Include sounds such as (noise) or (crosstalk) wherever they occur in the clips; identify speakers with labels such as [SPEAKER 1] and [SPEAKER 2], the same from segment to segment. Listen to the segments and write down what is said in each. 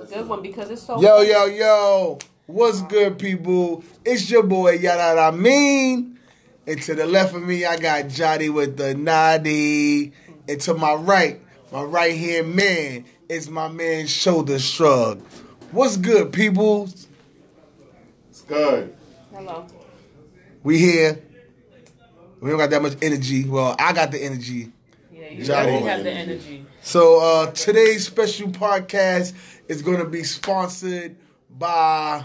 [SPEAKER 1] a good one because it's so.
[SPEAKER 2] Yo, yo, yo. What's good, people? It's your boy, Yada I mean. And to the left of me, I got Johnny with the Noddy. And to my right, my right hand man, is my man Shoulder Shrug. What's good, people?
[SPEAKER 3] It's good.
[SPEAKER 1] Hello.
[SPEAKER 2] We here. We don't got that much energy. Well, I got the energy.
[SPEAKER 1] Yeah, you
[SPEAKER 2] Johnny.
[SPEAKER 1] definitely have the energy.
[SPEAKER 2] So uh, today's special podcast is going to be sponsored by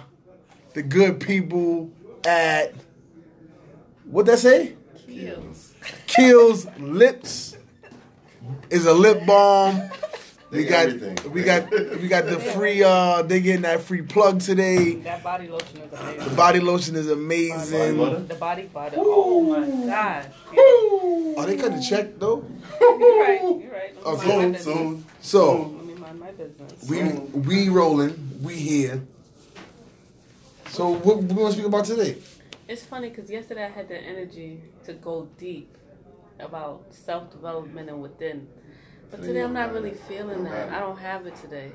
[SPEAKER 2] the good people at what that say?
[SPEAKER 1] Kills.
[SPEAKER 2] Kills Lips is a lip balm. We
[SPEAKER 3] They
[SPEAKER 2] got
[SPEAKER 3] everything.
[SPEAKER 2] we got we got the free uh they getting that free plug today.
[SPEAKER 1] That body lotion is amazing.
[SPEAKER 2] The body lotion is
[SPEAKER 3] Body
[SPEAKER 2] amazing.
[SPEAKER 3] butter?
[SPEAKER 1] The body butter. Oh my gosh.
[SPEAKER 2] Oh, they cut the check though.
[SPEAKER 1] You're right. You're right. Let me
[SPEAKER 2] Okay.
[SPEAKER 1] mind my
[SPEAKER 3] Soon,
[SPEAKER 1] business.
[SPEAKER 3] soon.
[SPEAKER 2] So
[SPEAKER 1] Let me mind my business.
[SPEAKER 2] Oh. we we rolling, we here. So what we gonna speak about today?
[SPEAKER 1] It's funny because yesterday I had the energy to go deep about self development and within. But today I'm not really feeling that. I don't have it today.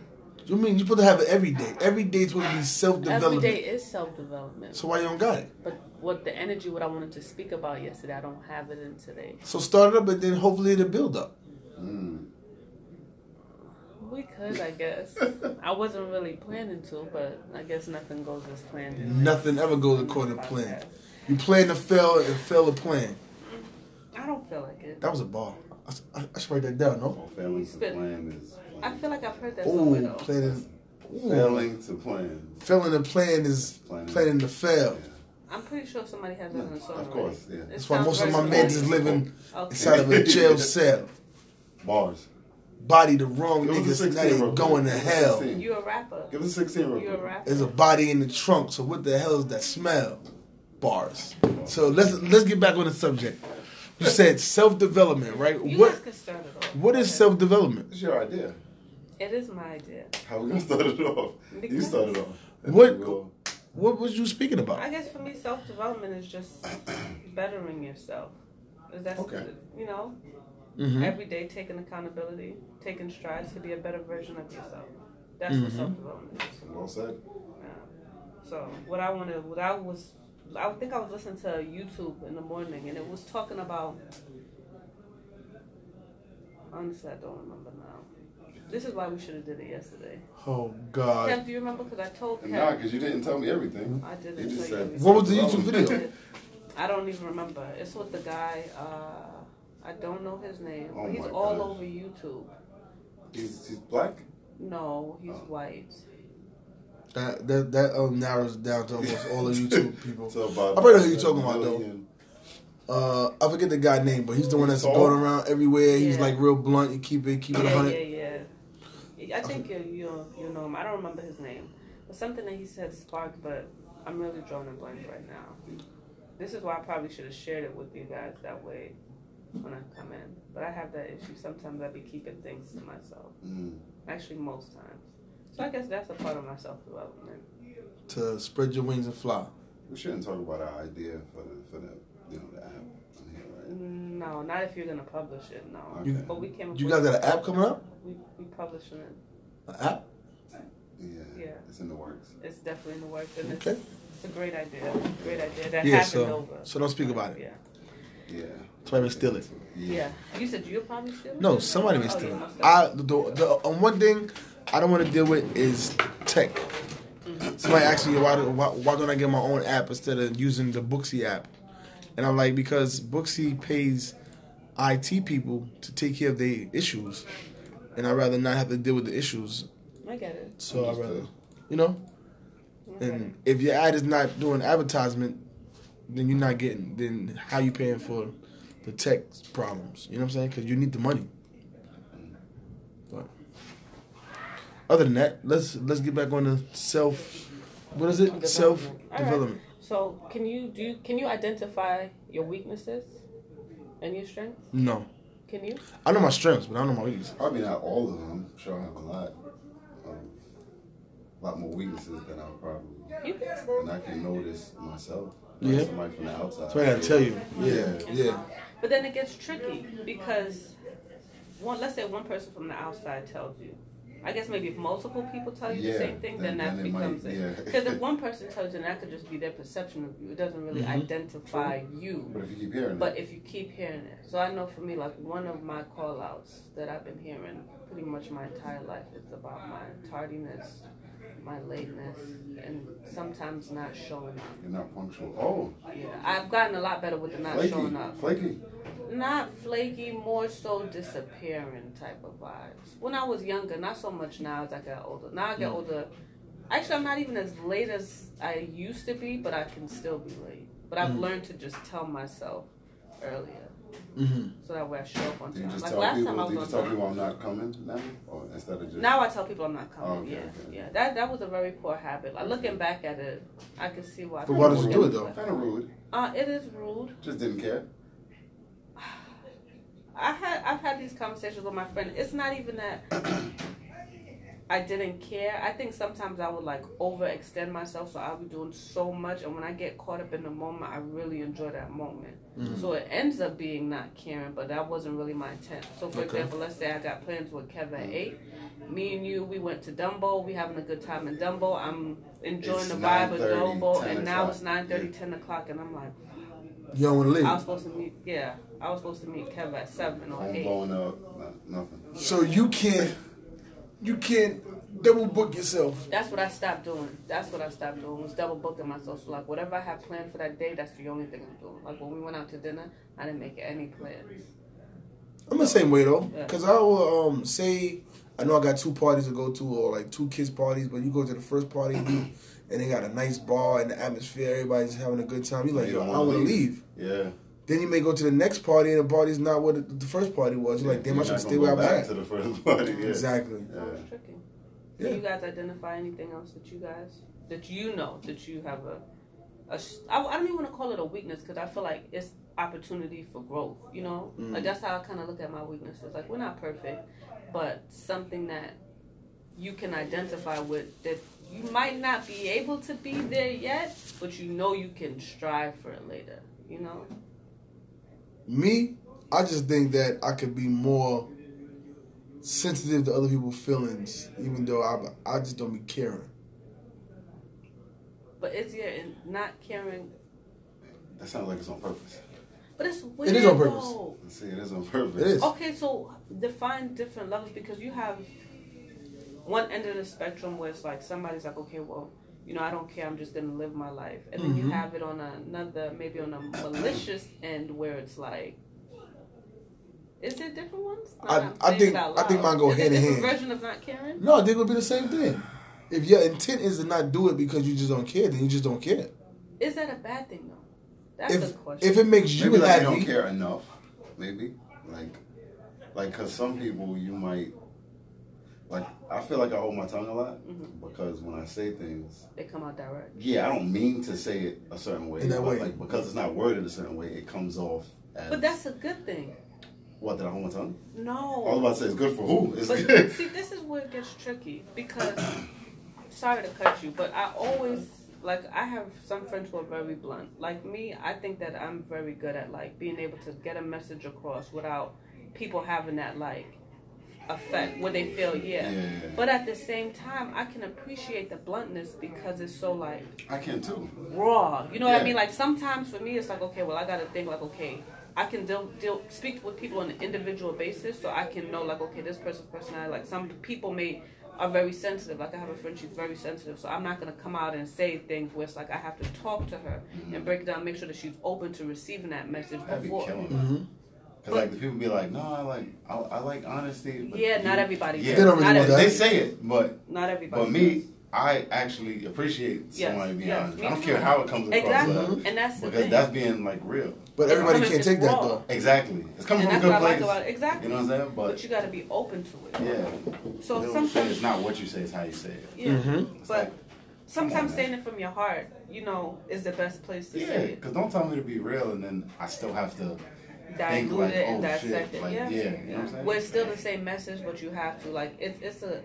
[SPEAKER 2] You mean you supposed to have it every day? Every day is supposed to be self
[SPEAKER 1] Every
[SPEAKER 2] development.
[SPEAKER 1] day is self development.
[SPEAKER 2] So why you don't got it?
[SPEAKER 1] But what the energy, what I wanted to speak about yesterday, I don't have it in today.
[SPEAKER 2] So start it up and then hopefully it'll build up.
[SPEAKER 3] Mm.
[SPEAKER 1] We could, I
[SPEAKER 2] (laughs)
[SPEAKER 1] guess. I wasn't really planning to, but I guess nothing goes as planned.
[SPEAKER 2] Nothing ever goes according to plan. You plan to fail and fail to plan.
[SPEAKER 1] I don't feel like it.
[SPEAKER 2] That was a ball. I, s- I- I should write that down, no?
[SPEAKER 3] Well, failing to
[SPEAKER 1] Spit.
[SPEAKER 3] plan is.
[SPEAKER 1] I feel like I've heard that somewhere
[SPEAKER 2] Ooh,
[SPEAKER 1] though.
[SPEAKER 2] planning. Ooh.
[SPEAKER 3] Failing to plan.
[SPEAKER 2] Failing to plan is
[SPEAKER 3] Planning.
[SPEAKER 2] planning to fail.
[SPEAKER 1] I'm pretty sure somebody has that in the song.
[SPEAKER 3] Of course, yeah.
[SPEAKER 2] That's why most of my men is living
[SPEAKER 1] Okay.
[SPEAKER 2] inside of a
[SPEAKER 3] (laughs)
[SPEAKER 2] jail cell.
[SPEAKER 3] Bars.
[SPEAKER 2] Body the wrong
[SPEAKER 3] It was a
[SPEAKER 2] niggas, now
[SPEAKER 3] 16
[SPEAKER 2] they
[SPEAKER 3] real quick.
[SPEAKER 2] going to
[SPEAKER 3] It was a
[SPEAKER 2] hell.
[SPEAKER 3] 16.
[SPEAKER 1] You a rapper?
[SPEAKER 3] Give us a 16 real
[SPEAKER 1] You a
[SPEAKER 3] quick.
[SPEAKER 1] rapper?
[SPEAKER 2] There's a body in the trunk, so what the hell is that smell? Bars. So let's let's get back on the subject. You said self development, right?
[SPEAKER 1] You
[SPEAKER 2] What
[SPEAKER 1] guys can start it off.
[SPEAKER 2] what is self development?
[SPEAKER 3] It's your idea.
[SPEAKER 1] It is my idea.
[SPEAKER 3] How we gonna (laughs) start it off? You
[SPEAKER 1] Because-
[SPEAKER 3] started off. And
[SPEAKER 2] What-
[SPEAKER 3] then we'll-
[SPEAKER 2] What was you speaking
[SPEAKER 1] I
[SPEAKER 2] about?
[SPEAKER 1] guess for me, self development is
[SPEAKER 2] (coughs)
[SPEAKER 1] just bettering yourself. Is that
[SPEAKER 3] Okay.
[SPEAKER 1] you know
[SPEAKER 2] hmm
[SPEAKER 1] every day taking accountability, taking strides to be a better version of yourself. That's what
[SPEAKER 2] Mhm.
[SPEAKER 1] self development is.
[SPEAKER 3] Well said.
[SPEAKER 1] So what I wanted, what I was, I think I was listening to YouTube in the morning, and it was talking about. Honestly, I don't remember now. This is why we should have did it yesterday.
[SPEAKER 2] Oh God!
[SPEAKER 1] Kev, do you remember? Because I told Kev.
[SPEAKER 3] And nah, because you didn't tell me everything.
[SPEAKER 1] I didn't.
[SPEAKER 3] You just
[SPEAKER 1] tell you
[SPEAKER 3] said.
[SPEAKER 2] What was the YouTube
[SPEAKER 3] development.
[SPEAKER 2] video?
[SPEAKER 1] I don't even remember. It's with the guy. Uh, I don't know his name.
[SPEAKER 3] Oh
[SPEAKER 1] he's
[SPEAKER 3] my
[SPEAKER 1] all
[SPEAKER 3] gosh.
[SPEAKER 1] over YouTube.
[SPEAKER 3] he's, he's black.
[SPEAKER 1] No, he's
[SPEAKER 3] Oh.
[SPEAKER 1] white.
[SPEAKER 2] That that, that um, narrows it down to almost all of
[SPEAKER 3] (laughs)
[SPEAKER 2] YouTube people.
[SPEAKER 3] So about
[SPEAKER 2] I probably know who you're talking about, though.
[SPEAKER 3] million.
[SPEAKER 2] Uh, I forget the guy name, but he's the one that's
[SPEAKER 3] Saul?
[SPEAKER 2] going around everywhere. He's
[SPEAKER 1] Yeah.
[SPEAKER 2] like real blunt. You keep it, keep it
[SPEAKER 1] Yeah, yeah,
[SPEAKER 2] hundred.
[SPEAKER 1] yeah. Yeah, I think uh, you you you know him. I don't remember his name, but something that he said sparked. But I'm really drawing a blank right now. This is why I probably should have shared it with you guys that way when I come in. But I have that issue. Sometimes I be keeping things to myself.
[SPEAKER 3] Mm.
[SPEAKER 1] Actually, most times. So I guess that's a part of my self development.
[SPEAKER 2] To spread your wings and fly.
[SPEAKER 3] We shouldn't talk about our idea for the for the you know the app on here, right?
[SPEAKER 1] No, not if you're gonna publish it. No.
[SPEAKER 3] Okay.
[SPEAKER 1] But we came. up
[SPEAKER 2] You
[SPEAKER 1] with-
[SPEAKER 2] guys got an app coming up?
[SPEAKER 1] We we publishing it.
[SPEAKER 2] An app?
[SPEAKER 3] Yeah.
[SPEAKER 1] Yeah.
[SPEAKER 3] It's in the works.
[SPEAKER 1] It's definitely in the works, and it's,
[SPEAKER 2] Okay.
[SPEAKER 1] it's a great idea. Great idea that
[SPEAKER 2] Yeah.
[SPEAKER 1] happened
[SPEAKER 2] So
[SPEAKER 1] over.
[SPEAKER 2] so don't speak about it.
[SPEAKER 1] Yeah.
[SPEAKER 3] Yeah.
[SPEAKER 2] Somebody steal it.
[SPEAKER 1] Yeah. You said you'll probably steal it?
[SPEAKER 2] No, somebody was
[SPEAKER 1] Oh,
[SPEAKER 2] stealing.
[SPEAKER 1] you must have.
[SPEAKER 2] I the, the um, one thing I don't want to deal with is tech.
[SPEAKER 1] Mm-hmm.
[SPEAKER 2] Somebody asked me why, do- why why don't I get my own app instead of using the Booksy app, and I'm like because Booksy pays IT people to take care of their issues, and I'd rather not have to deal with the issues.
[SPEAKER 1] I get it.
[SPEAKER 2] So I rather
[SPEAKER 3] Understood.
[SPEAKER 2] you know.
[SPEAKER 1] Okay.
[SPEAKER 2] And if your ad is not doing advertisement, then you're not getting. Then how you paying for the tech problems? You know what I'm saying? Because you need the money. But other than that, let's let's get back on the self. What is it?
[SPEAKER 1] Development.
[SPEAKER 2] Self
[SPEAKER 1] All right.
[SPEAKER 2] development.
[SPEAKER 1] So can you do you, can you identify your weaknesses and your strengths?
[SPEAKER 2] No,
[SPEAKER 1] Can you?
[SPEAKER 2] I know my strengths, but I don't know my weaknesses.
[SPEAKER 3] Probably not all of them. I'm sure I have a lot, of, a lot more weaknesses than I probably,
[SPEAKER 1] You can.
[SPEAKER 3] and I can notice myself. Like
[SPEAKER 2] Yeah.
[SPEAKER 3] Somebody from the outside.
[SPEAKER 2] So I gotta tell you.
[SPEAKER 3] Yeah.
[SPEAKER 2] Yeah.
[SPEAKER 1] But then it gets tricky because one let's say one person from the outside tells you, I guess maybe if multiple people tell you
[SPEAKER 3] Yeah,
[SPEAKER 1] the same thing, then,
[SPEAKER 3] then-
[SPEAKER 1] that
[SPEAKER 3] then it
[SPEAKER 1] becomes
[SPEAKER 3] might-
[SPEAKER 1] it.
[SPEAKER 3] yeah.
[SPEAKER 1] Because if one person tells you, then that could just be their perception of you. It doesn't really
[SPEAKER 2] Mhm.
[SPEAKER 1] identify you.
[SPEAKER 3] But if you keep hearing
[SPEAKER 1] But
[SPEAKER 3] it,
[SPEAKER 1] if you keep hearing it, so I know for me, like one of my call outs that I've been hearing pretty much my entire life is about my tardiness, my lateness, and sometimes not showing up.
[SPEAKER 3] you're not punctual. Oh,
[SPEAKER 1] Yeah, I've gotten a lot better with the not
[SPEAKER 3] flaky,
[SPEAKER 1] showing up.
[SPEAKER 3] flaky.
[SPEAKER 1] Not flaky, more so disappearing type of vibes. When I was younger, not so much now as I got older. Now I get older. Actually, I'm not even as late as I used to be, but I can still be late. But I've
[SPEAKER 2] Mm.
[SPEAKER 1] learned to just tell myself earlier,
[SPEAKER 2] Mm-hmm.
[SPEAKER 1] so that way I show up on
[SPEAKER 3] Do you
[SPEAKER 1] time.
[SPEAKER 3] just
[SPEAKER 1] Like
[SPEAKER 3] tell
[SPEAKER 1] last time I
[SPEAKER 3] people? Do you
[SPEAKER 1] was
[SPEAKER 3] just tell
[SPEAKER 1] on time.
[SPEAKER 3] people I'm not coming now, or instead of just
[SPEAKER 1] Now I tell people I'm not coming.
[SPEAKER 3] Oh, okay,
[SPEAKER 1] yeah,
[SPEAKER 3] okay.
[SPEAKER 1] yeah. That that was a very poor habit. Like, looking back at it, I can see why. I
[SPEAKER 2] But
[SPEAKER 1] kinda
[SPEAKER 2] why did you do it,
[SPEAKER 1] skipped
[SPEAKER 2] though?
[SPEAKER 3] kind of rude?
[SPEAKER 1] Uh, it is rude.
[SPEAKER 3] Just didn't care.
[SPEAKER 1] I had I've had these conversations with my friend. It's not even that I didn't care. I think sometimes I would like overextend myself, so I'll be doing so much, and when I get caught up in the moment, I really enjoy that moment.
[SPEAKER 3] Mm-hmm.
[SPEAKER 2] Mhm.
[SPEAKER 1] So it ends up being not caring, but that wasn't really my intent. So for
[SPEAKER 2] Okay.
[SPEAKER 1] example, let's say I got plans with Kevin at eight. Me and you, we went to Dumbo. We having a good time in Dumbo. I'm enjoying
[SPEAKER 3] It's
[SPEAKER 1] the vibe of
[SPEAKER 3] 9:30,
[SPEAKER 1] Dumbo,
[SPEAKER 3] 10
[SPEAKER 1] and now
[SPEAKER 3] o'clock.
[SPEAKER 1] it's 9:30, 10 o'clock, and I'm like.
[SPEAKER 2] You don't want to leave.
[SPEAKER 1] I was supposed to meet. Yeah, I was supposed to meet Kev at seven or
[SPEAKER 3] Phone
[SPEAKER 1] eight.
[SPEAKER 3] blowing up, not, nothing.
[SPEAKER 2] So you can't, you can't double book yourself.
[SPEAKER 1] That's what I stopped doing. That's what I stopped doing. Was double booking myself. So like whatever I had planned for that day, that's the only thing I'm doing. Like when we went out to dinner, I didn't make any plans.
[SPEAKER 2] I'm the same way though,
[SPEAKER 1] Yeah.
[SPEAKER 2] because I will um say I know I got two parties to go to or like two kids parties, but you go to the first party and they got a nice bar and the atmosphere, everybody's having a good time. You're like,
[SPEAKER 3] You
[SPEAKER 2] yo,
[SPEAKER 3] don't
[SPEAKER 2] I
[SPEAKER 3] wanna
[SPEAKER 2] want to
[SPEAKER 3] leave.
[SPEAKER 2] leave.
[SPEAKER 3] Yeah.
[SPEAKER 2] Then you may go to the next party and the party's not what it- the first party was. You're like, damn,
[SPEAKER 3] You're
[SPEAKER 2] I should
[SPEAKER 3] not
[SPEAKER 2] stay
[SPEAKER 3] gonna
[SPEAKER 2] where I
[SPEAKER 3] go
[SPEAKER 2] was
[SPEAKER 3] back
[SPEAKER 2] at.
[SPEAKER 3] to the first (laughs) party. Yeah.
[SPEAKER 2] Exactly.
[SPEAKER 1] That was
[SPEAKER 3] Yeah.
[SPEAKER 1] tricky.
[SPEAKER 2] Yeah.
[SPEAKER 1] Do you guys identify anything else that you guys that you know that you have a, a sh- I, I don't even want to call it a weakness because I feel like it's opportunity for growth. You know,
[SPEAKER 2] Mm.
[SPEAKER 1] like that's how I kind of look at my weaknesses. Like we're not perfect, but something that you can identify with that you might not be able to be there yet, but you know you can strive for it later. You know,
[SPEAKER 2] Me, I just think that I could be more sensitive to other people's feelings, even though I I just don't be caring.
[SPEAKER 1] but it's your in not caring.
[SPEAKER 3] That sounds like it's on purpose.
[SPEAKER 1] But it's weird.
[SPEAKER 2] is on purpose.
[SPEAKER 1] though.
[SPEAKER 3] See, it is on purpose.
[SPEAKER 2] It is.
[SPEAKER 1] Okay, so define different levels because you have one end of the spectrum where it's like somebody's like, okay, well, you know, I don't care, I'm just gonna live my life, and then you
[SPEAKER 2] Mhm.
[SPEAKER 1] have it on another, maybe on a malicious end where it's like. Is it different ones? No,
[SPEAKER 2] I-
[SPEAKER 1] I'm
[SPEAKER 2] I
[SPEAKER 1] saying
[SPEAKER 2] think-
[SPEAKER 1] it out
[SPEAKER 2] I think
[SPEAKER 1] loud.
[SPEAKER 2] mine go
[SPEAKER 1] Is it
[SPEAKER 2] hand in
[SPEAKER 1] different
[SPEAKER 2] hand.
[SPEAKER 1] Version of not caring.
[SPEAKER 2] No, I think it would be the same thing. If your intent is to not do it because you just don't care, then you just don't care.
[SPEAKER 1] Is that a bad thing though? That's
[SPEAKER 2] if
[SPEAKER 1] the question.
[SPEAKER 2] if it makes you
[SPEAKER 3] Maybe like
[SPEAKER 2] happy,
[SPEAKER 3] you don't care enough. Maybe like, like because some people you might like. I feel like I hold my tongue a lot
[SPEAKER 1] Mhm.
[SPEAKER 3] because when I say things,
[SPEAKER 1] they come out direct.
[SPEAKER 3] yeah, I don't mean to say it a certain way,
[SPEAKER 2] In that
[SPEAKER 3] but
[SPEAKER 2] way.
[SPEAKER 3] like because it's not worded a certain way, it comes off. As,
[SPEAKER 1] But that's a good thing.
[SPEAKER 3] what did I hold my tongue? I was
[SPEAKER 1] No.
[SPEAKER 3] about to say it's good for who? It's
[SPEAKER 1] But
[SPEAKER 3] (laughs) good.
[SPEAKER 1] see, this is where it gets tricky because, (coughs) sorry to cut you, but I always like I have some friends who are very blunt. Like me, I think that I'm very good at like being able to get a message across without people having that like effect where they feel yeah.
[SPEAKER 3] Yeah.
[SPEAKER 1] But at the same time, I can appreciate the bluntness because it's so like
[SPEAKER 3] I can too.
[SPEAKER 1] raw. You know what I
[SPEAKER 3] Yeah.
[SPEAKER 1] mean? Like sometimes for me, it's like okay, well, I gotta think like okay, I can deal, deal speak with people on an individual basis, so I can know like okay, this person's personality. Like some people may are very sensitive. Like I have a friend, she's very sensitive, so I'm not gonna come out and say things where it's like I have to talk to her and break it down, make sure that she's open to receiving that message
[SPEAKER 3] Mm-hmm. That'd be
[SPEAKER 1] before.
[SPEAKER 3] killing me.
[SPEAKER 2] Mhm.
[SPEAKER 3] Cause like the people be like, no, I like, I, I like honesty. but
[SPEAKER 1] Yeah,
[SPEAKER 3] you-
[SPEAKER 1] not everybody.
[SPEAKER 3] Yeah,
[SPEAKER 1] does.
[SPEAKER 2] They don't really
[SPEAKER 1] not,
[SPEAKER 2] want
[SPEAKER 1] every-
[SPEAKER 3] they say it, but
[SPEAKER 1] not everybody.
[SPEAKER 3] but me,
[SPEAKER 1] does.
[SPEAKER 3] I actually appreciate
[SPEAKER 1] Yes,
[SPEAKER 3] somebody being
[SPEAKER 1] yes,
[SPEAKER 3] honest.
[SPEAKER 1] me
[SPEAKER 3] I don't
[SPEAKER 1] too.
[SPEAKER 3] care how it comes across,
[SPEAKER 1] exactly,
[SPEAKER 3] but-
[SPEAKER 1] and that's the
[SPEAKER 3] because
[SPEAKER 1] thing.
[SPEAKER 3] that's being like real.
[SPEAKER 2] but everybody
[SPEAKER 1] It's
[SPEAKER 2] can't take
[SPEAKER 1] raw.
[SPEAKER 2] that though.
[SPEAKER 3] Exactly, it's coming
[SPEAKER 1] and
[SPEAKER 3] from
[SPEAKER 1] that's
[SPEAKER 3] a good
[SPEAKER 1] what I like
[SPEAKER 3] place.
[SPEAKER 1] about it. Exactly.
[SPEAKER 3] You know what I'm saying?
[SPEAKER 1] but
[SPEAKER 3] But
[SPEAKER 1] you got to be open to it.
[SPEAKER 3] yeah,
[SPEAKER 1] So
[SPEAKER 3] They don't say
[SPEAKER 1] sometimes
[SPEAKER 3] it's not what you say, it's how you say it.
[SPEAKER 1] Yeah.
[SPEAKER 2] Mhm.
[SPEAKER 3] It's
[SPEAKER 1] But
[SPEAKER 3] like,
[SPEAKER 1] sometimes
[SPEAKER 3] man.
[SPEAKER 1] saying it from your heart, you know, is the best place to
[SPEAKER 3] yeah,
[SPEAKER 1] say it.
[SPEAKER 3] because don't tell me to be real and then I still have to think
[SPEAKER 1] Dilute
[SPEAKER 3] like,
[SPEAKER 1] it and
[SPEAKER 3] oh
[SPEAKER 1] dissect
[SPEAKER 3] shit,
[SPEAKER 1] it.
[SPEAKER 3] like
[SPEAKER 1] yeah.
[SPEAKER 3] you know what I'm saying?
[SPEAKER 1] Well, it's still the same message, but you have to like it's it's a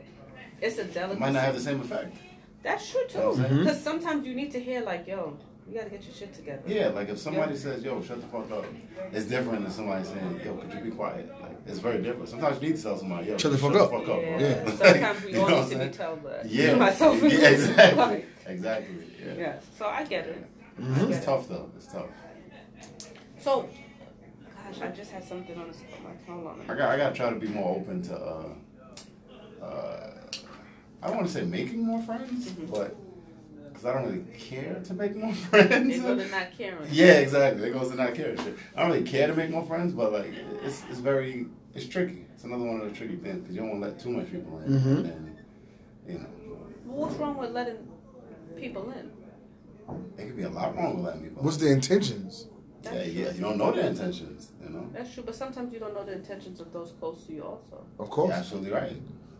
[SPEAKER 1] it's a
[SPEAKER 3] It
[SPEAKER 1] delicacy.
[SPEAKER 3] might not have the same effect.
[SPEAKER 1] That's true
[SPEAKER 3] You know
[SPEAKER 1] too.
[SPEAKER 3] what I'm saying?
[SPEAKER 1] Because sometimes you need to hear like, yo, You gotta get your shit together.
[SPEAKER 3] Yeah, like if somebody
[SPEAKER 1] Yeah.
[SPEAKER 3] says, "Yo, shut the fuck up," it's different than somebody saying, "Yo, could you be quiet?" Like it's very different. Sometimes you need to tell somebody, "Yo,
[SPEAKER 2] Shut the fuck up."
[SPEAKER 3] bro."
[SPEAKER 1] Yeah.
[SPEAKER 3] (laughs)
[SPEAKER 2] Yeah.
[SPEAKER 1] Sometimes we
[SPEAKER 3] You know
[SPEAKER 1] all
[SPEAKER 3] what
[SPEAKER 1] need to be
[SPEAKER 3] I'm saying?
[SPEAKER 1] told that.
[SPEAKER 3] Yeah,
[SPEAKER 1] Myself
[SPEAKER 3] (laughs) yeah,
[SPEAKER 1] included.
[SPEAKER 3] exactly,
[SPEAKER 1] Like,
[SPEAKER 3] exactly.
[SPEAKER 1] (laughs)
[SPEAKER 3] Yeah. Mm-hmm.
[SPEAKER 1] yeah. So I get it. I
[SPEAKER 2] Mhm.
[SPEAKER 1] get
[SPEAKER 3] it's
[SPEAKER 1] it.
[SPEAKER 3] tough though. It's tough.
[SPEAKER 1] So, gosh, I just had something on the spot. of my tongue. Hold
[SPEAKER 3] I
[SPEAKER 1] on.
[SPEAKER 3] got I gotta try to be more open to. uh uh I don't want to say making more friends,
[SPEAKER 1] Mhm.
[SPEAKER 3] but because I don't really care to make more (laughs) friends.
[SPEAKER 1] They go to not caring.
[SPEAKER 3] Yeah, exactly. It goes to not caring. shit. I don't really care to make more friends, but like it's it's very it's tricky. It's another one of the tricky things because you don't want to let too much people in,
[SPEAKER 2] Mhm.
[SPEAKER 3] and then, you know
[SPEAKER 1] Well, what's wrong with letting people in?
[SPEAKER 3] there could be a lot wrong with letting people.
[SPEAKER 2] What's the intentions?
[SPEAKER 3] in. yeah, yeah. You don't know their intentions. You know,
[SPEAKER 1] That's true, but sometimes you don't know the intentions of those close to you, also.
[SPEAKER 2] Of
[SPEAKER 3] you're
[SPEAKER 2] course.
[SPEAKER 3] absolutely right.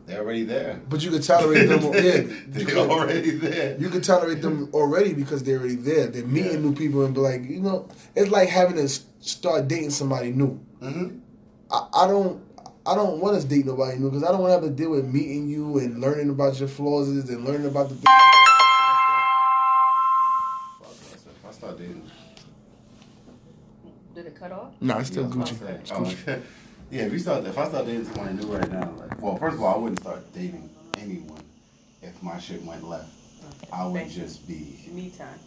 [SPEAKER 3] They're already there.
[SPEAKER 2] But you could tolerate (laughs) them. or- Yeah, you
[SPEAKER 3] (laughs) They're
[SPEAKER 2] could,
[SPEAKER 3] already there.
[SPEAKER 2] you could tolerate them already because they're already there. They're meeting
[SPEAKER 3] Yeah.
[SPEAKER 2] new people and be like, you know, it's like having to s- start dating somebody new.
[SPEAKER 3] hmm
[SPEAKER 2] I, I don't. I don't want to date nobody new because I don't want to have to deal with meeting you and learning about your flaws and learning about the. Thing.
[SPEAKER 3] If I start dating,
[SPEAKER 1] Did it cut off?
[SPEAKER 2] Nah, it's still
[SPEAKER 3] Yeah, I was
[SPEAKER 2] Gucci.
[SPEAKER 3] about to
[SPEAKER 2] It's
[SPEAKER 3] say, oh, I was-
[SPEAKER 2] Gucci.
[SPEAKER 3] (laughs) yeah, if you start, if I start dating someone new right now, like, well, first of all, I wouldn't start dating anyone if my shit went left. I would
[SPEAKER 1] Thank you.
[SPEAKER 3] just be, (laughs)
[SPEAKER 1] Me time.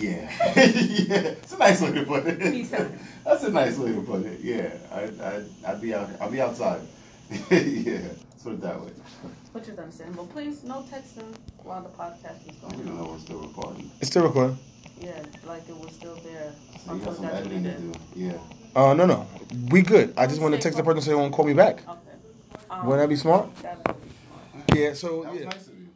[SPEAKER 3] yeah, (laughs) yeah. It's a nice way to put it.
[SPEAKER 1] Me time.
[SPEAKER 3] (laughs) That's a nice way to put it. Yeah, I, I, I'd be out, I'd be outside. (laughs) yeah, let's put it that way.
[SPEAKER 1] Which is understandable. Please, no texting while the podcast is
[SPEAKER 3] I don't
[SPEAKER 1] going
[SPEAKER 3] even
[SPEAKER 1] on.
[SPEAKER 3] know we're still recording.
[SPEAKER 2] It's still recording.
[SPEAKER 1] Yeah, like it was still there.
[SPEAKER 3] So Oh, you got some
[SPEAKER 1] Sometimes I
[SPEAKER 3] editing to
[SPEAKER 1] did.
[SPEAKER 3] do. Yeah.
[SPEAKER 2] Uh, no, no, we good. I
[SPEAKER 1] just wanna text the person
[SPEAKER 2] so they won't call me back.
[SPEAKER 1] Okay. Um,
[SPEAKER 2] Wouldn't that be smart?
[SPEAKER 1] That would be smart.
[SPEAKER 2] Yeah. So
[SPEAKER 3] Oh. That was
[SPEAKER 2] yeah.
[SPEAKER 3] nice of you.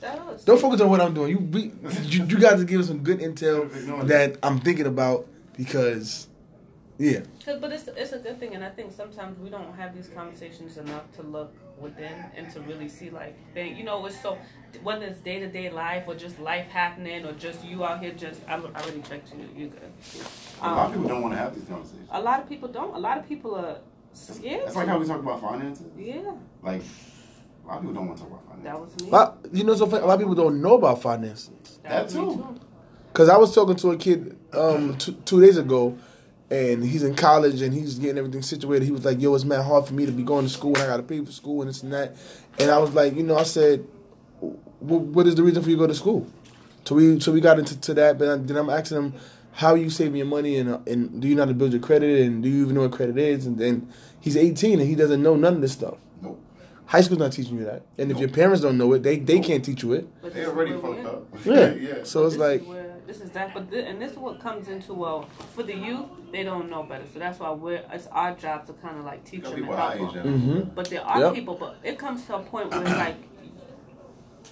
[SPEAKER 1] That was.
[SPEAKER 2] Don't focus on what I'm doing. You be, you, you guys give some good intel that I'm thinking about because, yeah,
[SPEAKER 1] Cause, but it's it's a good thing, and I think sometimes we don't have these conversations enough to look within and to really see like they, you know, it's so whether it's day to day life or just life happening or just you out here just I, I already checked you, you good.
[SPEAKER 3] a lot
[SPEAKER 1] Um,
[SPEAKER 3] of people don't want to have these conversations.
[SPEAKER 1] a lot of people don't. A lot of people are
[SPEAKER 3] That's-
[SPEAKER 1] scared.
[SPEAKER 3] That's like how we talk about finances.
[SPEAKER 1] yeah,
[SPEAKER 3] Like, a lot of people don't want to talk about finances.
[SPEAKER 1] that was me.
[SPEAKER 2] a lot, you know, so a lot of people don't know about finances.
[SPEAKER 3] that
[SPEAKER 1] was
[SPEAKER 3] too.
[SPEAKER 1] Me
[SPEAKER 2] Because I was talking to a kid um, two, two days ago, and he's in college and he's getting everything situated. He was like, "Yo, it's mad hard for me to be going to school and I got to pay for school and this and that." And I was like, "You know," I said, "Wh- "What is the reason for you to go to school?" So we so we got into to that, but then I'm asking him, "How are you saving your money and uh, and do you know how to build your credit and do you even know what credit is?" And then he's 18 and he doesn't know none of this stuff.
[SPEAKER 3] Nope.
[SPEAKER 2] High school's not teaching you that, and if
[SPEAKER 3] Nope.
[SPEAKER 2] your parents don't know it, they they can't teach you it.
[SPEAKER 1] But
[SPEAKER 3] They
[SPEAKER 1] this is
[SPEAKER 3] already
[SPEAKER 1] where we
[SPEAKER 3] fucked
[SPEAKER 1] at.
[SPEAKER 2] (laughs)
[SPEAKER 3] up.
[SPEAKER 2] Yeah.
[SPEAKER 3] (laughs) yeah.
[SPEAKER 2] So it's
[SPEAKER 1] this
[SPEAKER 2] like.
[SPEAKER 1] is where, this is that, but thi- and this is what comes into well for the youth. They don't know better, so that's why we're it's our job to kind of like teach
[SPEAKER 3] Got
[SPEAKER 1] them and
[SPEAKER 3] people
[SPEAKER 1] help
[SPEAKER 3] our age
[SPEAKER 1] them.
[SPEAKER 3] that
[SPEAKER 2] hmm
[SPEAKER 1] But there are
[SPEAKER 2] Yep.
[SPEAKER 1] people, but it comes to a point where like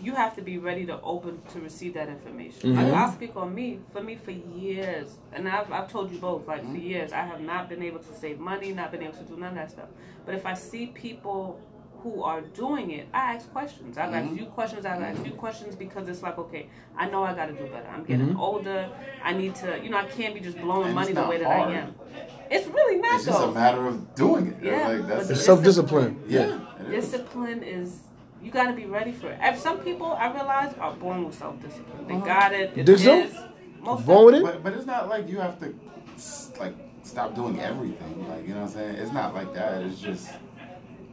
[SPEAKER 1] you have to be ready to open to receive that information. Like,
[SPEAKER 2] Mhm.
[SPEAKER 1] I'll speak on me. For me, for years, and I've, I've told you both, like for years, I have not been able to save money, not been able to do none of that stuff. But if I see people who are doing it, I ask questions. I've asked you questions. I've asked you questions because it's like, okay, I know I got to do better. I'm getting older. I need to, you know, I can't be just blowing
[SPEAKER 3] And
[SPEAKER 1] money
[SPEAKER 3] it's
[SPEAKER 1] the
[SPEAKER 3] not
[SPEAKER 1] way that
[SPEAKER 3] hard.
[SPEAKER 1] I am. It's really not
[SPEAKER 3] It's just a
[SPEAKER 1] though.
[SPEAKER 3] matter of doing it.
[SPEAKER 1] Yeah,
[SPEAKER 3] Like, that's
[SPEAKER 1] but
[SPEAKER 2] It's
[SPEAKER 1] it's-
[SPEAKER 2] self discipline.
[SPEAKER 3] yeah. it is.
[SPEAKER 1] Discipline is you got to be ready for it. If some people I realize are born with self discipline.
[SPEAKER 3] Uh-huh.
[SPEAKER 1] They got it. It
[SPEAKER 2] Think so?
[SPEAKER 1] is- Most
[SPEAKER 2] Born with it?
[SPEAKER 3] But, but it's not like you have to s- like stop doing everything. Like you know what I'm saying? It's not like that. It's just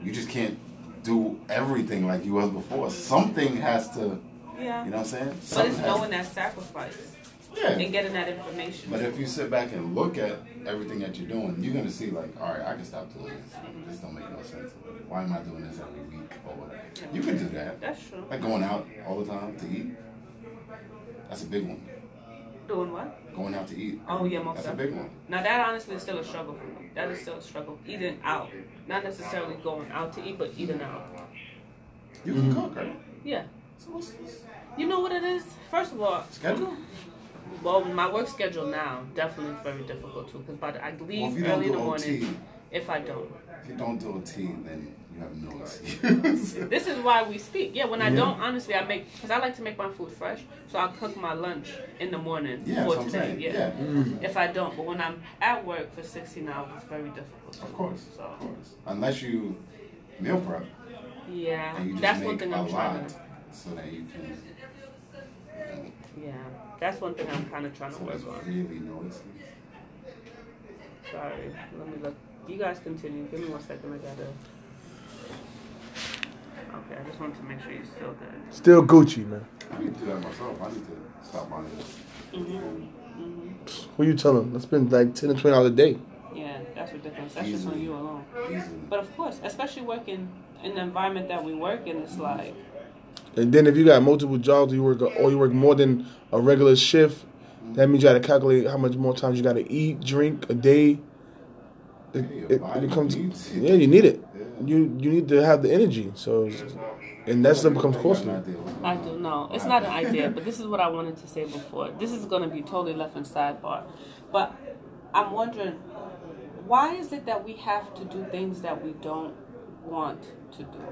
[SPEAKER 3] you just can't do everything like you was before. Something has to. You know
[SPEAKER 1] Yeah.
[SPEAKER 3] what I'm saying?
[SPEAKER 1] but
[SPEAKER 3] Something
[SPEAKER 1] it's
[SPEAKER 3] has
[SPEAKER 1] knowing that sacrifice
[SPEAKER 3] Yeah.
[SPEAKER 1] and getting that information.
[SPEAKER 3] But if you sit back and look at everything that you're doing, you're gonna see like, all right, I can stop doing this. This don't make no sense. Why am I doing this every week or whatever? You can do that.
[SPEAKER 1] That's true.
[SPEAKER 3] Like going out all the time to eat. That's a big one.
[SPEAKER 1] Doing what?
[SPEAKER 3] Going out to eat.
[SPEAKER 1] Oh yeah, most
[SPEAKER 3] That's a
[SPEAKER 1] definitely.
[SPEAKER 3] big one.
[SPEAKER 1] Now that honestly is still a struggle for me. That is still a struggle. Eating out, not necessarily going out to eat, but eating out.
[SPEAKER 3] You can cook, right?
[SPEAKER 1] Yeah.
[SPEAKER 3] So what's this?
[SPEAKER 1] You know what it is? First of all,
[SPEAKER 3] Schedule?
[SPEAKER 1] well, my work schedule now definitely is very difficult too. Because by the, I
[SPEAKER 3] Well, if
[SPEAKER 1] leave
[SPEAKER 3] you don't
[SPEAKER 1] early in the
[SPEAKER 3] do OT,
[SPEAKER 1] morning. If I don't.
[SPEAKER 3] if you don't do OT, then you have
[SPEAKER 1] (laughs)
[SPEAKER 3] no excuse.
[SPEAKER 1] This is why we speak. Yeah, when I don't, honestly, I make because I like to make my food fresh, so I cook my lunch in the morning
[SPEAKER 3] yeah, that's
[SPEAKER 1] for
[SPEAKER 3] what I'm
[SPEAKER 1] today.
[SPEAKER 3] saying.
[SPEAKER 1] Yeah.
[SPEAKER 3] Yeah,
[SPEAKER 1] If I don't, but when I'm at work for 16 hours, it's very difficult.
[SPEAKER 3] of course,
[SPEAKER 1] So
[SPEAKER 3] of course. Unless you meal prep.
[SPEAKER 1] yeah,
[SPEAKER 3] And you just
[SPEAKER 1] that's
[SPEAKER 3] make
[SPEAKER 1] one thing
[SPEAKER 3] a
[SPEAKER 1] I'm
[SPEAKER 3] lot
[SPEAKER 1] trying to.
[SPEAKER 3] so that you can
[SPEAKER 1] Yeah, that's one thing I'm kind of trying to
[SPEAKER 3] So like
[SPEAKER 1] work on.
[SPEAKER 3] really noticing.
[SPEAKER 1] Sorry, let me look. You guys continue. Give me one second. I gotta. Okay, I just want to make sure you're still good.
[SPEAKER 2] Still Gucci, man.
[SPEAKER 3] I need to do that myself. I need to stop my
[SPEAKER 1] Mm-hmm. Mm-hmm.
[SPEAKER 2] Who you telling? That's been like ten to twenty dollars a day.
[SPEAKER 1] Yeah, that's ridiculous. That's just on
[SPEAKER 3] Easily.
[SPEAKER 1] you alone.
[SPEAKER 3] easily.
[SPEAKER 1] But of course, especially working in the environment that we work in, it's like
[SPEAKER 2] And then if you got multiple jobs, you work or you work more than a regular shift, that means you got to calculate how much more times you got to eat, drink a day. It,
[SPEAKER 3] Yeah, your
[SPEAKER 2] it,
[SPEAKER 3] body
[SPEAKER 2] it comes.
[SPEAKER 3] needs it.
[SPEAKER 2] Yeah, you need it.
[SPEAKER 3] Yeah.
[SPEAKER 2] You you need to have the energy. So, it's- and that's what becomes costly.
[SPEAKER 1] I do know. It's not an idea, but this is what I wanted to say before. This is going to be totally left in sidebar. But I'm wondering why is it that we have to do things that we don't want to do?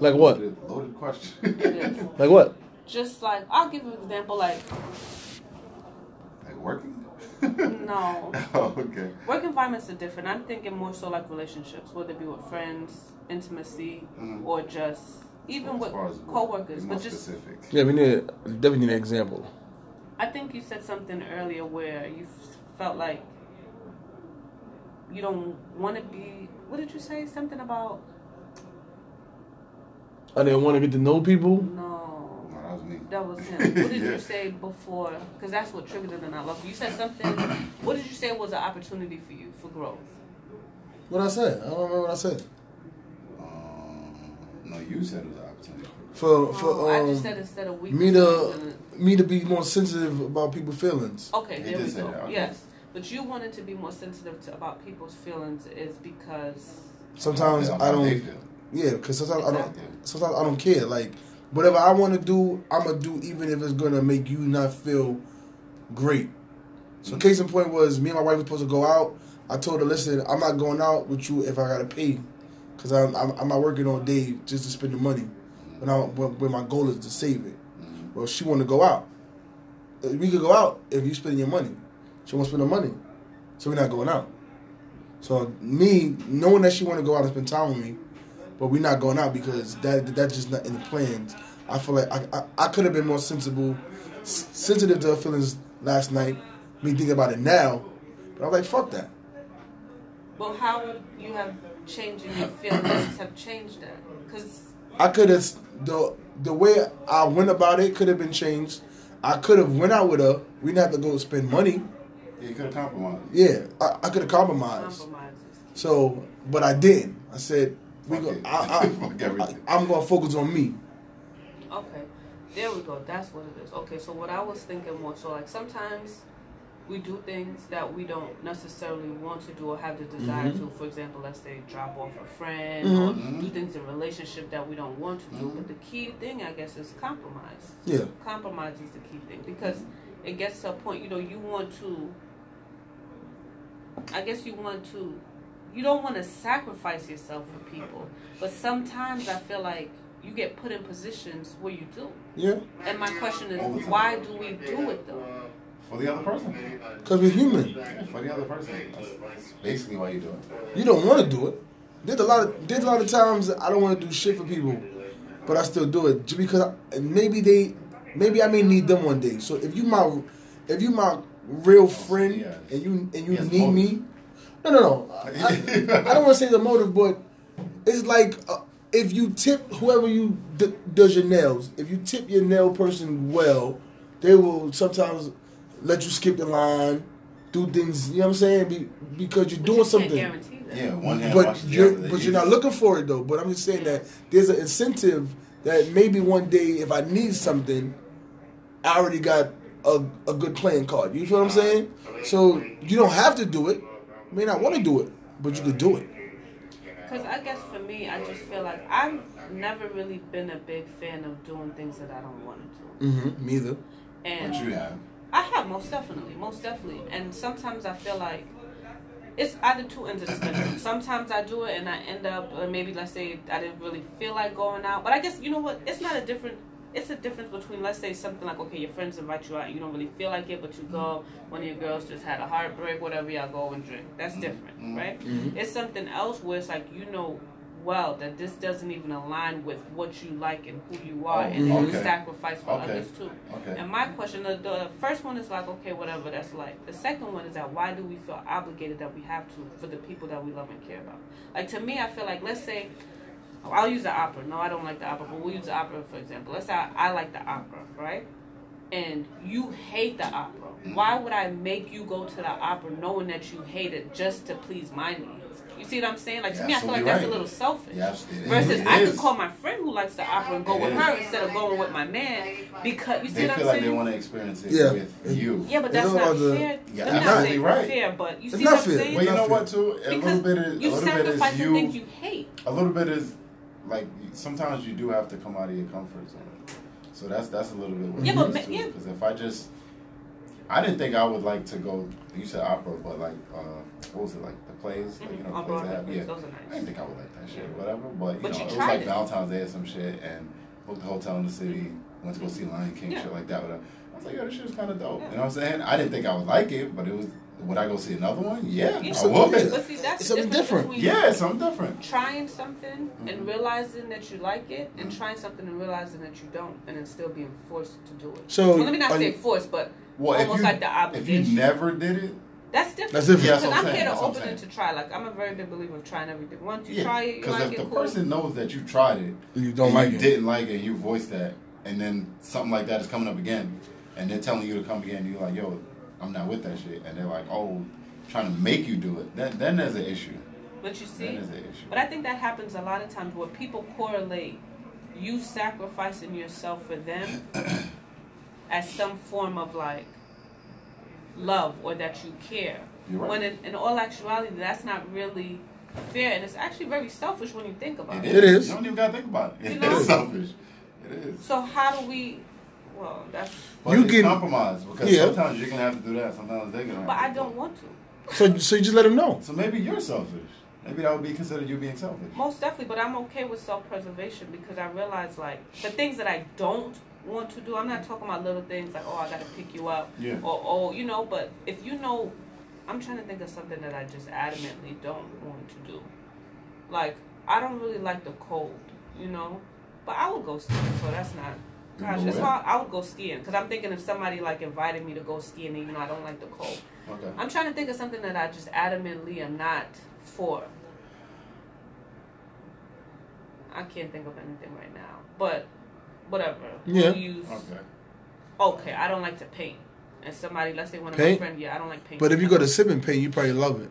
[SPEAKER 2] Like what?
[SPEAKER 3] Loaded, loaded question.
[SPEAKER 1] It is.
[SPEAKER 2] Like what?
[SPEAKER 1] Just like, I'll give you an example like,
[SPEAKER 3] (laughs) like working?
[SPEAKER 1] No.
[SPEAKER 3] (laughs) oh, okay.
[SPEAKER 1] work environments are different. I'm thinking more so like relationships, whether it be with friends, intimacy,
[SPEAKER 3] Mhm.
[SPEAKER 1] or just even
[SPEAKER 3] As
[SPEAKER 1] with
[SPEAKER 3] far as work,
[SPEAKER 1] coworkers.
[SPEAKER 3] be
[SPEAKER 1] But
[SPEAKER 3] more
[SPEAKER 1] just
[SPEAKER 3] specific.
[SPEAKER 2] Yeah, we need definitely need an example.
[SPEAKER 1] I think you said something earlier where you f- felt like you don't want to be. What did you say? Something about
[SPEAKER 2] I didn't want to get to know people.
[SPEAKER 1] no.
[SPEAKER 3] No, that was me.
[SPEAKER 1] That was him. What did
[SPEAKER 3] Yeah.
[SPEAKER 1] you say before? Because that's what triggered it, and I love you. You said something. What did you say was an opportunity for you for growth?
[SPEAKER 2] What I said? I don't remember what I said.
[SPEAKER 3] Um, no, you said it was an opportunity.
[SPEAKER 2] For um,
[SPEAKER 1] Oh, I just
[SPEAKER 3] um,
[SPEAKER 1] said instead of weakness.
[SPEAKER 2] me to-
[SPEAKER 1] something-
[SPEAKER 2] me to be more sensitive about people's feelings.
[SPEAKER 1] Okay,
[SPEAKER 3] He
[SPEAKER 1] there
[SPEAKER 3] did
[SPEAKER 1] we
[SPEAKER 3] say
[SPEAKER 1] go.
[SPEAKER 3] that, okay.
[SPEAKER 1] Yes, but you wanted to be more sensitive to about people's feelings is because
[SPEAKER 2] Sometimes
[SPEAKER 3] How
[SPEAKER 2] I
[SPEAKER 3] they
[SPEAKER 2] don't.
[SPEAKER 3] feel.
[SPEAKER 2] Yeah, because sometimes I don't.
[SPEAKER 3] Yeah.
[SPEAKER 2] Sometimes I don't care. Like whatever I want to do, I'm gonna do, even if it's gonna make you not feel great. So case in point was me and my wife were supposed to go out. I told her, listen, I'm not going out with you if I gotta pay, cause I'm I'm, I'm not working all day just to spend the money. When I when, when my goal is to save it.
[SPEAKER 3] Mhm.
[SPEAKER 2] Well, she want to go out. Uh, We could go out if you spend your money. She won't spend her money, so we're not going out. So me knowing that she want to go out and spend time with me, but we're not going out because that that's just not in the plans. I feel like I I, I could have been more sensible, s- sensitive to her feelings last night. Me thinking about it now, but I'm like fuck that.
[SPEAKER 1] well, how you have changing your feelings have changed that because
[SPEAKER 2] I could have the the way I went about it could have been changed. I could have went out with her. We didn't have to go spend money.
[SPEAKER 3] Yeah, you could have compromised.
[SPEAKER 2] Yeah, I, I could have compromised.
[SPEAKER 1] compromises.
[SPEAKER 2] So, but I didn't. I said, we
[SPEAKER 3] Fuck
[SPEAKER 2] go,
[SPEAKER 3] it.
[SPEAKER 2] I,
[SPEAKER 3] (laughs) Fuck
[SPEAKER 2] I,
[SPEAKER 3] everything.
[SPEAKER 2] I, am going to focus on me.
[SPEAKER 1] Okay, there we go. That's what it is. Okay, so what I was thinking more so like sometimes we do things that we don't necessarily want to do or have the desire to. For example, let's say drop off a friend or
[SPEAKER 3] Mhm.
[SPEAKER 1] do things in relationship that we don't want to do.
[SPEAKER 3] Mhm.
[SPEAKER 1] But the key thing, I guess, is compromise.
[SPEAKER 2] Yeah.
[SPEAKER 1] compromise is the key thing because it gets to a point you know you want to i guess you want to you don't want to sacrifice yourself for people but sometimes i feel like you get put in positions where you do
[SPEAKER 2] Yeah.
[SPEAKER 1] and my question
[SPEAKER 3] All the
[SPEAKER 1] is
[SPEAKER 3] time.
[SPEAKER 1] why do we do it though
[SPEAKER 3] For the other person.
[SPEAKER 2] Because we're human.
[SPEAKER 3] Yeah, for the other person. That's, that's basically why you do it.
[SPEAKER 2] You don't want to do it. There's a lot of there's a lot of times I don't want to do shit for people, but I still do it just because I, maybe they maybe I may need them one day. So if you my if you my real friend
[SPEAKER 3] yeah.
[SPEAKER 2] and you and you
[SPEAKER 3] Yes,
[SPEAKER 2] need me, no no no. I, I- I don't want to say the motive, but it's like uh, if you tip whoever you d- does your nails, if you tip your nail person well, they will sometimes let you skip the line, do things. You know what I'm saying? Be, because you're
[SPEAKER 1] But
[SPEAKER 2] doing
[SPEAKER 1] you
[SPEAKER 2] something.
[SPEAKER 1] can't guarantee that
[SPEAKER 3] Yeah, one hand
[SPEAKER 2] But
[SPEAKER 3] washes the
[SPEAKER 2] you're
[SPEAKER 3] other.
[SPEAKER 2] but you're not looking for it though. But I'm just saying that there's an incentive that maybe one day if I need something, I already got a, a good playing card. You feel what I'm saying? So you don't have to do it. You may not want to do it, but you could do it.
[SPEAKER 1] because i guess for me i just feel like i've never really been a big fan of doing things that i don't want to do
[SPEAKER 2] Mm-hmm. Me either.
[SPEAKER 1] and
[SPEAKER 3] But you have.
[SPEAKER 1] I have most definitely, most definitely, and sometimes I feel like it's either two ends of the spectrum. Sometimes I do it and I end up, or maybe let's say I didn't really feel like going out, but I guess you know what? It's not a different. It's a difference between let's say something like okay, your friends invite you out, you don't really feel like it, but you go. One of your girls just had a
[SPEAKER 3] Mm-hmm.
[SPEAKER 1] heartbreak, whatever. Y'all go and drink. That's different, right? It's something else where it's like you know well that this doesn't even align with what you like and who you are,
[SPEAKER 3] Oh,
[SPEAKER 1] and then you
[SPEAKER 3] okay.
[SPEAKER 1] sacrifice for
[SPEAKER 3] Okay.
[SPEAKER 1] others too.
[SPEAKER 3] Okay.
[SPEAKER 1] And my question, the, the first one is like, okay, whatever, that's like. The second one is that why do we feel obligated that we have to for the people that we love and care about? Like to me, I feel like let's say, oh, I'll use the opera. No, I don't like the opera, but we'll use the opera for example. Let's say I, I like the opera, right? And you hate the opera. Why would I make you go to the opera knowing that you hate it just to please my needs? You see what I'm saying? Like to
[SPEAKER 3] You're
[SPEAKER 1] me, I feel like
[SPEAKER 3] absolutely
[SPEAKER 1] that's a
[SPEAKER 3] right.
[SPEAKER 1] little selfish.
[SPEAKER 3] Yeah, it is.
[SPEAKER 1] Versus,
[SPEAKER 3] It
[SPEAKER 1] I could
[SPEAKER 3] is.
[SPEAKER 1] call my friend who likes the opera and go
[SPEAKER 3] It
[SPEAKER 1] with
[SPEAKER 3] is.
[SPEAKER 1] her instead of going with my man because you see
[SPEAKER 3] They
[SPEAKER 1] what I'm
[SPEAKER 3] feel like
[SPEAKER 1] saying?
[SPEAKER 3] they want to experience it
[SPEAKER 2] Yeah.
[SPEAKER 3] with you.
[SPEAKER 1] Yeah, but
[SPEAKER 2] It's
[SPEAKER 1] that's
[SPEAKER 2] all
[SPEAKER 1] not
[SPEAKER 2] about the-
[SPEAKER 1] fair.
[SPEAKER 3] Yeah,
[SPEAKER 1] I'm not
[SPEAKER 3] absolutely
[SPEAKER 1] saying
[SPEAKER 3] right.
[SPEAKER 1] fair, but you
[SPEAKER 2] It's
[SPEAKER 1] see
[SPEAKER 2] not
[SPEAKER 1] what I'm
[SPEAKER 2] fair.
[SPEAKER 1] saying?
[SPEAKER 3] Well, you know
[SPEAKER 2] Nothing.
[SPEAKER 3] what too? A
[SPEAKER 1] because
[SPEAKER 3] little bit is a
[SPEAKER 1] you
[SPEAKER 3] little bit
[SPEAKER 1] sacrifice
[SPEAKER 3] is
[SPEAKER 1] the things
[SPEAKER 3] you.
[SPEAKER 1] you hate.
[SPEAKER 3] A little bit is like sometimes you do have to come out of your comfort zone. So that's that's a little bit what
[SPEAKER 1] Yeah,
[SPEAKER 3] yeah,
[SPEAKER 1] but
[SPEAKER 3] it
[SPEAKER 1] ma-
[SPEAKER 3] is too.
[SPEAKER 1] yeah.
[SPEAKER 3] Because if I just, I didn't think I would like to go. You said opera, but like uh, what was it like the plays? Like, you know,
[SPEAKER 1] Mhm.
[SPEAKER 3] the
[SPEAKER 1] On
[SPEAKER 3] plays
[SPEAKER 1] Broadway,
[SPEAKER 3] that have,
[SPEAKER 1] please,
[SPEAKER 3] yeah.
[SPEAKER 1] those are
[SPEAKER 3] I
[SPEAKER 1] nice.
[SPEAKER 3] didn't think I would like that shit, or whatever. But you
[SPEAKER 1] But
[SPEAKER 3] know,
[SPEAKER 1] you
[SPEAKER 3] it was
[SPEAKER 1] tried
[SPEAKER 3] like
[SPEAKER 1] it.
[SPEAKER 3] Valentine's Day or some shit, and booked a hotel in the city, went to go see Lion King,
[SPEAKER 1] Yeah.
[SPEAKER 3] shit like that. Whatever. I was like, yo, this shit was kind of dope.
[SPEAKER 1] Yeah.
[SPEAKER 3] You know what I'm saying? I didn't think I would like it, but it was. Would I go see another one? Yeah,
[SPEAKER 1] Yeah.
[SPEAKER 3] I would.
[SPEAKER 2] Yeah.
[SPEAKER 1] But see, that's
[SPEAKER 2] It's
[SPEAKER 1] the
[SPEAKER 2] something
[SPEAKER 1] difference
[SPEAKER 2] different.
[SPEAKER 1] between
[SPEAKER 3] Yeah, something different.
[SPEAKER 1] Trying something and
[SPEAKER 3] Mhm.
[SPEAKER 1] realizing that you like it, and
[SPEAKER 3] Mhm.
[SPEAKER 1] trying something and realizing that you don't, and then still being forced to do it.
[SPEAKER 2] So
[SPEAKER 1] well, let me not
[SPEAKER 2] are
[SPEAKER 1] say
[SPEAKER 2] you-
[SPEAKER 1] forced, but
[SPEAKER 3] Well, if
[SPEAKER 1] almost
[SPEAKER 3] you,
[SPEAKER 1] like the
[SPEAKER 3] if you
[SPEAKER 1] obligation.
[SPEAKER 3] never did it,
[SPEAKER 1] that's different.
[SPEAKER 2] That's different.
[SPEAKER 3] Yeah,
[SPEAKER 1] Because
[SPEAKER 3] that's what
[SPEAKER 1] I'm
[SPEAKER 3] I'm
[SPEAKER 1] here
[SPEAKER 3] saying,
[SPEAKER 1] to
[SPEAKER 3] that's what I'm
[SPEAKER 1] open and to
[SPEAKER 3] saying.
[SPEAKER 1] try. Like I'm a very big believer of trying everything. Once you
[SPEAKER 3] yeah.
[SPEAKER 1] try it, you
[SPEAKER 3] Because
[SPEAKER 1] like
[SPEAKER 3] if
[SPEAKER 1] it.
[SPEAKER 3] the
[SPEAKER 1] cool.
[SPEAKER 3] person knows that you tried it,
[SPEAKER 2] you don't
[SPEAKER 3] and
[SPEAKER 2] like
[SPEAKER 3] you
[SPEAKER 2] it.
[SPEAKER 3] didn't like it, you voice that, and then something like that is coming up again, and they're telling you to come again, you're like, yo, I'm not with that shit, and they're like, oh, trying to make you do it. Then then there's an issue.
[SPEAKER 1] but you
[SPEAKER 3] Then
[SPEAKER 1] see,
[SPEAKER 3] there's an issue.
[SPEAKER 1] But I think that happens a lot of times where people correlate you sacrificing yourself for
[SPEAKER 3] (clears throat)
[SPEAKER 1] them as some form of like love or that you care.
[SPEAKER 3] You're right.
[SPEAKER 1] When in, in all actuality, that's not really fair, and it's actually very selfish when you think about it.
[SPEAKER 2] It is.
[SPEAKER 3] You don't even gotta think about it. (laughs)
[SPEAKER 1] You
[SPEAKER 3] It
[SPEAKER 1] know?
[SPEAKER 3] is selfish. It is.
[SPEAKER 1] So how do we? Well, that's.
[SPEAKER 3] But
[SPEAKER 2] You
[SPEAKER 3] it's
[SPEAKER 2] can-
[SPEAKER 3] compromise because
[SPEAKER 2] Yeah.
[SPEAKER 3] sometimes you're gonna have to do that. Sometimes they're gonna.
[SPEAKER 1] But
[SPEAKER 3] have
[SPEAKER 1] I
[SPEAKER 3] to do
[SPEAKER 1] don't
[SPEAKER 3] it.
[SPEAKER 1] want to.
[SPEAKER 2] So so you just let him know.
[SPEAKER 3] So maybe you're selfish. Maybe that would be considered you being selfish.
[SPEAKER 1] Most definitely, but I'm okay with self-preservation because I realize like the things that I don't want to do. I'm not talking about little things like oh I gotta pick you up
[SPEAKER 3] Yeah.
[SPEAKER 1] or oh you know. But if you know, I'm trying to think of something that I just adamantly don't want to do. Like I don't really like the cold, you know. But I would go skiing, so that's not.
[SPEAKER 3] You
[SPEAKER 1] Gosh,
[SPEAKER 3] go
[SPEAKER 1] that's
[SPEAKER 3] where?
[SPEAKER 1] why I would go skiing because I'm thinking if somebody like invited me to go skiing, even though I don't like the cold.
[SPEAKER 3] Okay.
[SPEAKER 1] I'm trying to think of something that I just adamantly am not for. I can't think of anything right now, but whatever. We'll
[SPEAKER 2] Yeah.
[SPEAKER 1] use-
[SPEAKER 3] Okay.
[SPEAKER 1] okay, I don't like to paint. And somebody, let's say one of
[SPEAKER 2] Paint?
[SPEAKER 1] my friends, yeah, I don't like paint.
[SPEAKER 2] But if you go to sip and pay, you probably love it.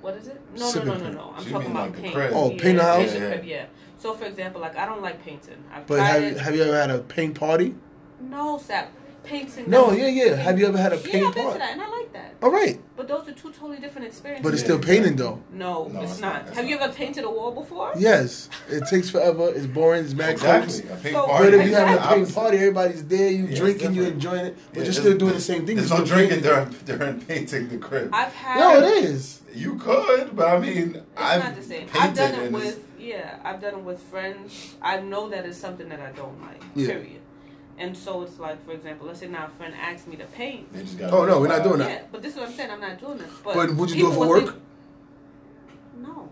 [SPEAKER 1] What is it? No,
[SPEAKER 2] Sip
[SPEAKER 1] no,
[SPEAKER 2] and
[SPEAKER 1] no, no,
[SPEAKER 2] paint.
[SPEAKER 1] no. I'm
[SPEAKER 3] She
[SPEAKER 1] talking
[SPEAKER 3] mean
[SPEAKER 1] about
[SPEAKER 3] like the
[SPEAKER 1] paint.
[SPEAKER 3] crib.
[SPEAKER 2] Oh, paint a
[SPEAKER 1] yeah,
[SPEAKER 2] house?
[SPEAKER 1] yeah,
[SPEAKER 3] Yeah.
[SPEAKER 1] crib, yeah. So, for example, like, I don't like painting. I've
[SPEAKER 2] But
[SPEAKER 1] tried
[SPEAKER 2] have,
[SPEAKER 1] it.
[SPEAKER 2] have you ever had a paint party?
[SPEAKER 1] No, Sap. Painting.
[SPEAKER 2] No,
[SPEAKER 1] that's-
[SPEAKER 2] yeah, yeah. Have you ever had a
[SPEAKER 1] Yeah,
[SPEAKER 2] paint
[SPEAKER 1] I've been
[SPEAKER 2] party?
[SPEAKER 1] to that, and I like that.
[SPEAKER 2] All right,
[SPEAKER 1] But those are two totally different experiences.
[SPEAKER 2] but it's
[SPEAKER 3] Yeah,
[SPEAKER 2] still
[SPEAKER 3] exactly.
[SPEAKER 2] painting though.
[SPEAKER 1] No,
[SPEAKER 3] No,
[SPEAKER 1] it's,
[SPEAKER 3] it's
[SPEAKER 1] not.
[SPEAKER 3] not. It's
[SPEAKER 1] Have you
[SPEAKER 3] not.
[SPEAKER 1] ever painted a wall before?
[SPEAKER 2] Yes, it takes forever. It's boring. It's mad coats.
[SPEAKER 3] Exactly. A pink
[SPEAKER 1] So-
[SPEAKER 3] party.
[SPEAKER 2] But if
[SPEAKER 3] is
[SPEAKER 2] you
[SPEAKER 3] the
[SPEAKER 2] have a paint
[SPEAKER 3] opposite.
[SPEAKER 2] party, everybody's there. You
[SPEAKER 3] it's
[SPEAKER 2] drinking, you
[SPEAKER 3] different.
[SPEAKER 2] enjoying it, but
[SPEAKER 3] Yeah,
[SPEAKER 2] you're
[SPEAKER 3] there's-
[SPEAKER 2] still doing the same thing.
[SPEAKER 3] There's
[SPEAKER 2] You're
[SPEAKER 3] no
[SPEAKER 2] still
[SPEAKER 3] drinking
[SPEAKER 2] painting.
[SPEAKER 3] during during painting the crib.
[SPEAKER 1] I've had.
[SPEAKER 2] No, it is.
[SPEAKER 3] You could, but I mean,
[SPEAKER 1] It's
[SPEAKER 3] I've
[SPEAKER 1] not the same.
[SPEAKER 3] painted
[SPEAKER 1] I've done it
[SPEAKER 3] and it's-
[SPEAKER 1] with yeah. I've done it with friends. I know that it's something that I don't like.
[SPEAKER 2] Yeah.
[SPEAKER 1] Period. And so it's like, for example, let's say now a friend asks me to paint.
[SPEAKER 3] They just got.
[SPEAKER 2] Oh, no, we're not doing that.
[SPEAKER 1] Yeah, but this is what I'm saying. I'm not doing this. But,
[SPEAKER 2] But would you do it
[SPEAKER 1] people
[SPEAKER 2] for
[SPEAKER 1] would
[SPEAKER 2] work?
[SPEAKER 1] think- no,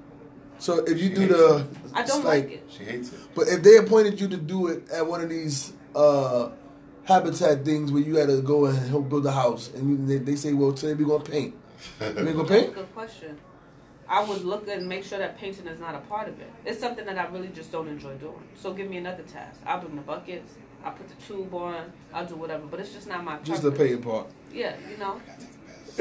[SPEAKER 2] So if you
[SPEAKER 3] She
[SPEAKER 2] do
[SPEAKER 3] hates
[SPEAKER 2] the,
[SPEAKER 1] I don't
[SPEAKER 2] it's
[SPEAKER 1] like, it.
[SPEAKER 3] She hates it. (laughs)
[SPEAKER 2] But if they appointed you to do it at one of these uh, habitat things where you had to go and help build a house, and they, they say, "Well, today we're gonna paint. We're gonna
[SPEAKER 1] That's a
[SPEAKER 2] paint."
[SPEAKER 1] good question. I would look and make sure that painting is not a part of it. It's something that I really just don't enjoy doing. So give me another task. I'll bring the buckets. I'll put the tube on. I'll do whatever. But it's just not my.
[SPEAKER 2] Just the
[SPEAKER 1] purpose.
[SPEAKER 2] painting part.
[SPEAKER 1] Yeah, you know.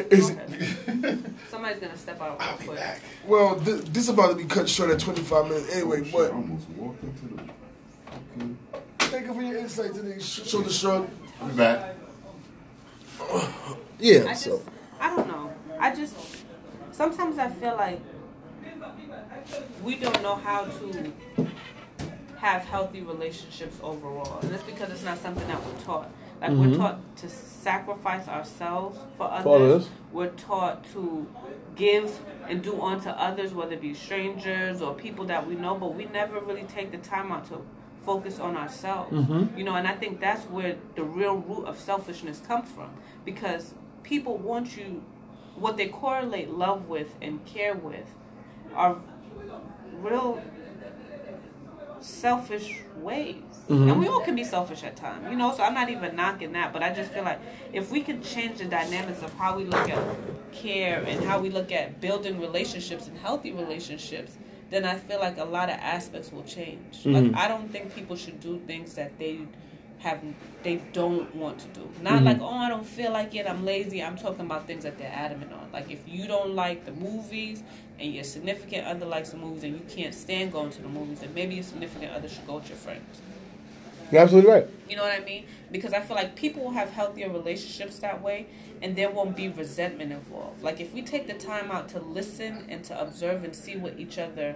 [SPEAKER 2] Is-
[SPEAKER 1] Go ahead.
[SPEAKER 2] (laughs)
[SPEAKER 1] Somebody's gonna step out real
[SPEAKER 3] I'll be
[SPEAKER 1] quick.
[SPEAKER 3] back.
[SPEAKER 2] well, th- this is about to be cut short at 25 minutes anyway.
[SPEAKER 3] Shit, I
[SPEAKER 2] But
[SPEAKER 3] almost walked into the. fucking-
[SPEAKER 2] thank you for your insight today. Sh- Shoulder shrug.
[SPEAKER 3] I'll be back.
[SPEAKER 1] I
[SPEAKER 2] Yeah.
[SPEAKER 1] just,
[SPEAKER 2] So
[SPEAKER 1] I don't know. I just, sometimes I feel like we don't know how to have healthy relationships overall, and it's because it's not something that we're taught. Like we're taught to sacrifice ourselves for others.
[SPEAKER 2] others.
[SPEAKER 1] We're taught to give and do unto others, whether it be strangers or people that we know, but we never really take the time out to focus on ourselves. You know, and I think that's where the real root of selfishness comes from because people want you, what they correlate love with and care with are real selfish ways. And we all can be selfish at times, you know, so I'm not even knocking that, but I just feel like if we could change the dynamics of how we look at care and how we look at building relationships and healthy relationships, then I feel like a lot of aspects will change. Like I don't think people should do things that they have they don't want to do. Not like, oh I don't feel like it, I'm lazy. I'm talking about things that they're adamant on. Like if you don't like the movies and your significant other likes the movies and you can't stand going to the movies, then maybe your significant other should go with your friends.
[SPEAKER 2] You're absolutely right.
[SPEAKER 1] You know what I mean? Because I feel like people will have healthier relationships that way, and there won't be resentment involved. Like if we take the time out to listen and to observe and see what each other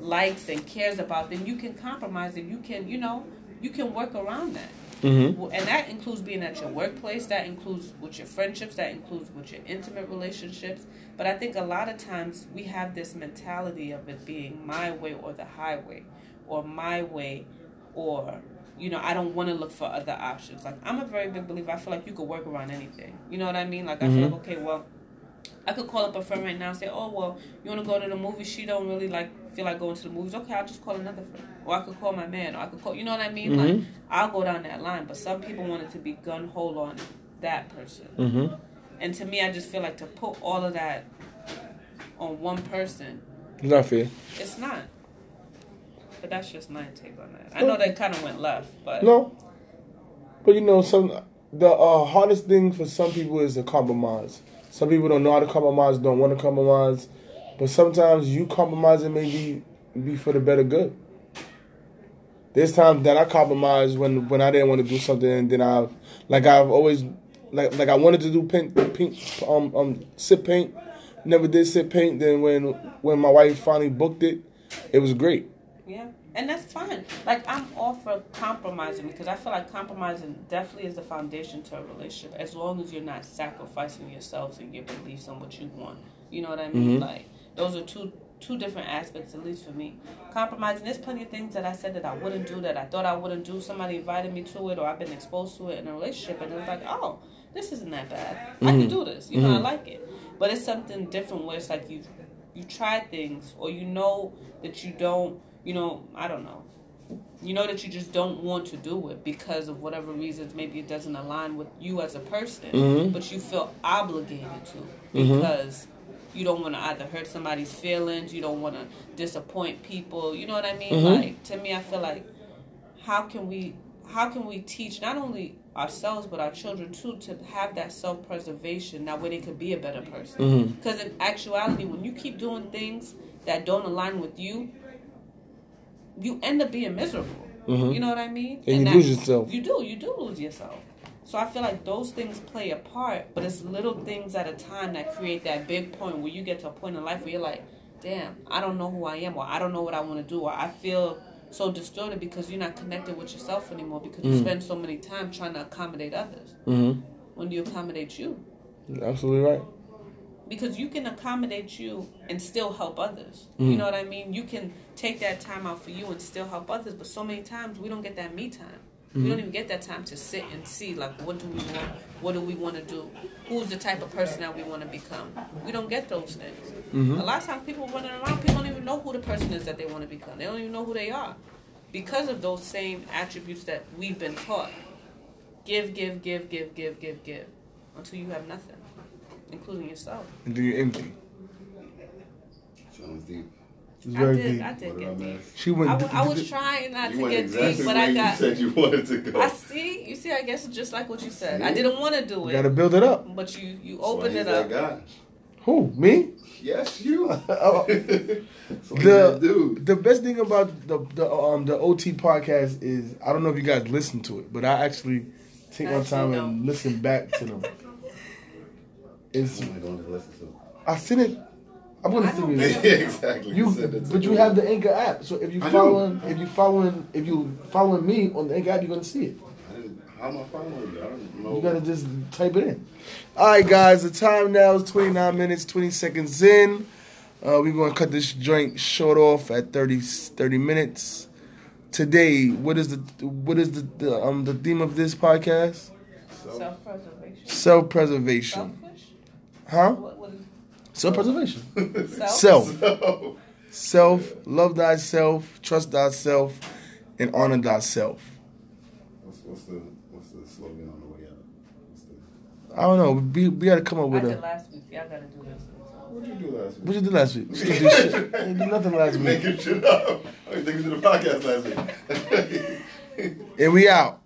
[SPEAKER 1] likes and cares about, then you can compromise and you can, you know, you can work around that.
[SPEAKER 2] Mm-hmm.
[SPEAKER 1] Well, And that includes being at your workplace. That includes with your friendships. That includes with your intimate relationships. But I think a lot of times we have this mentality of it being my way or the highway, or my way, or you know I don't want to look for other options. Like I'm a very big believer. I feel like you could work around anything. You know what I mean? Like I feel like okay, well. I could call up a friend right now and say, "Oh well, you want to go to the movie? She don't really like feel like going to the movies. Okay, I'll just call another friend, or I could call my man, or I could call. You know what I mean? Like I'll go down that line. But some people want it to be gun hole on that person,
[SPEAKER 2] Mm. Mm-hmm.
[SPEAKER 1] and to me, I just feel like to put all of that on one person,
[SPEAKER 2] It's not fair.
[SPEAKER 1] it's not. But that's just my take on that. I know that kind of went left, but
[SPEAKER 2] No, but you know, some the uh, hardest thing for some people is to compromise. Some people don't know how to compromise, don't want to compromise, but sometimes you compromising may be, be for the better good. There's times that I compromised when when I didn't want to do something, and then I've like I've always like like I wanted to do paint paint um um sip paint, never did sip paint. Then when when my wife finally booked it, it was great.
[SPEAKER 1] Yeah, and that's fine. Like I'm all for compromising because I feel like compromising definitely is the foundation to a relationship. As long as you're not sacrificing yourselves and your beliefs and what you want, you know what I mean. Like those are two two different aspects, at least for me. Compromising. There's plenty of things that I said that I wouldn't do that I thought I wouldn't do. Somebody invited me to it, or I've been exposed to it in a relationship, and it was like, oh, this isn't that bad. I can do this. You know, I like it. But it's something different where it's like you you try things or you know that you don't you know i don't know you know that you just don't want to do it because of whatever reasons maybe it doesn't align with you as a person but you feel obligated to because you don't want to either hurt somebody's feelings you don't want to disappoint people you know what i mean like to me i feel like how can we how can we teach not only ourselves but our children too to have that self-preservation that way they could be a better person because in actuality when you keep doing things that don't align with you you end up being miserable you know what i mean
[SPEAKER 2] Mm-hmm. And you
[SPEAKER 1] that-
[SPEAKER 2] lose yourself.
[SPEAKER 1] you do you do lose yourself so i feel like those things play a part but it's little things at a time that create that big point where you get to a point in life where you're like damn i don't know who i am or i don't know what i want to do or i feel so distorted because you're not connected with yourself anymore because
[SPEAKER 2] Mm.
[SPEAKER 1] you spend so many time trying to accommodate others
[SPEAKER 2] Mm-hmm.
[SPEAKER 1] when do you accommodate you
[SPEAKER 2] Absolutely right.
[SPEAKER 1] because you can accommodate you and still help others. You know what I mean? You can take that time out for you and still help others, but so many times we don't get that me time. We don't even get that time to sit and see like what do we want? What do we want to do? Who's the type of person that we want to become? We don't get those things. A lot of times people running around, people don't even know who the person is that they want to become. They don't even know who they are because of those same attributes that we've been taught. Give, give, give, give, give, give, give until you have nothing, including yourself.
[SPEAKER 2] And then you're empty.
[SPEAKER 3] Jones deep.
[SPEAKER 2] It's
[SPEAKER 1] I
[SPEAKER 2] very
[SPEAKER 1] did.
[SPEAKER 2] deep.
[SPEAKER 1] I did
[SPEAKER 3] What
[SPEAKER 1] get
[SPEAKER 3] did I
[SPEAKER 1] deep.
[SPEAKER 3] miss?
[SPEAKER 2] She
[SPEAKER 1] I,
[SPEAKER 2] went.
[SPEAKER 1] w- I was trying not
[SPEAKER 3] You
[SPEAKER 1] to
[SPEAKER 3] went
[SPEAKER 1] get
[SPEAKER 3] exactly
[SPEAKER 1] deep, but
[SPEAKER 3] where
[SPEAKER 1] I
[SPEAKER 3] you
[SPEAKER 1] got.
[SPEAKER 3] said you wanted to go.
[SPEAKER 1] I see. You see, I guess it's just like what you said. I
[SPEAKER 3] See?
[SPEAKER 1] didn't want to do
[SPEAKER 2] You
[SPEAKER 1] it,
[SPEAKER 2] gotta build it up.
[SPEAKER 1] but you you
[SPEAKER 3] That's why
[SPEAKER 1] opened
[SPEAKER 3] he's
[SPEAKER 1] it
[SPEAKER 3] that
[SPEAKER 1] up.
[SPEAKER 3] guy.
[SPEAKER 2] Who? Me?
[SPEAKER 3] Yes, (laughs) you.
[SPEAKER 2] Oh.
[SPEAKER 3] So he's
[SPEAKER 2] The
[SPEAKER 3] that Oh, dude.
[SPEAKER 2] the best thing about the the um the OT podcast is I don't know if you guys listen to it, but I actually take my
[SPEAKER 1] Actually,
[SPEAKER 2] time
[SPEAKER 1] no.
[SPEAKER 2] and listen back
[SPEAKER 1] (laughs)
[SPEAKER 2] to them. It's
[SPEAKER 3] Somebody don't even listen to him.
[SPEAKER 2] I sent it. I'm gonna
[SPEAKER 1] I don't
[SPEAKER 2] send it.
[SPEAKER 1] really-
[SPEAKER 3] (laughs) exactly.
[SPEAKER 2] You,
[SPEAKER 3] said it to
[SPEAKER 2] but you
[SPEAKER 3] me.
[SPEAKER 2] have the Anchor app, so if you
[SPEAKER 3] I do.
[SPEAKER 2] following, if you following, if you following me on the Anchor app, you're gonna see it.
[SPEAKER 3] I didn't- How am I following you? I don't know.
[SPEAKER 2] You gotta just type it in. All right, guys. The time now is 29 minutes, 20 seconds in. Uh, we're gonna cut this joint short off at 30, 30 minutes. Today, what is the what is the, the um the theme of this podcast?
[SPEAKER 3] So,
[SPEAKER 1] Self preservation.
[SPEAKER 2] Self preservation,
[SPEAKER 1] Selfish.
[SPEAKER 2] huh?
[SPEAKER 1] What was
[SPEAKER 2] Self preservation.
[SPEAKER 1] it? self?
[SPEAKER 2] Self,
[SPEAKER 3] so
[SPEAKER 2] self, love thyself, trust thyself, and honor thyself.
[SPEAKER 3] What's, what's the what's the slogan on the way out? What's the,
[SPEAKER 2] I don't know. We, we got to come up
[SPEAKER 1] I
[SPEAKER 2] with
[SPEAKER 1] did
[SPEAKER 2] a.
[SPEAKER 1] last week. Y'all gotta do this.
[SPEAKER 3] what'd you do last
[SPEAKER 2] What
[SPEAKER 3] week?
[SPEAKER 2] you do last week? You didn't do shit. You didn't do nothing last week.
[SPEAKER 3] Making shit up. I think we did a podcast last week.
[SPEAKER 2] And we out.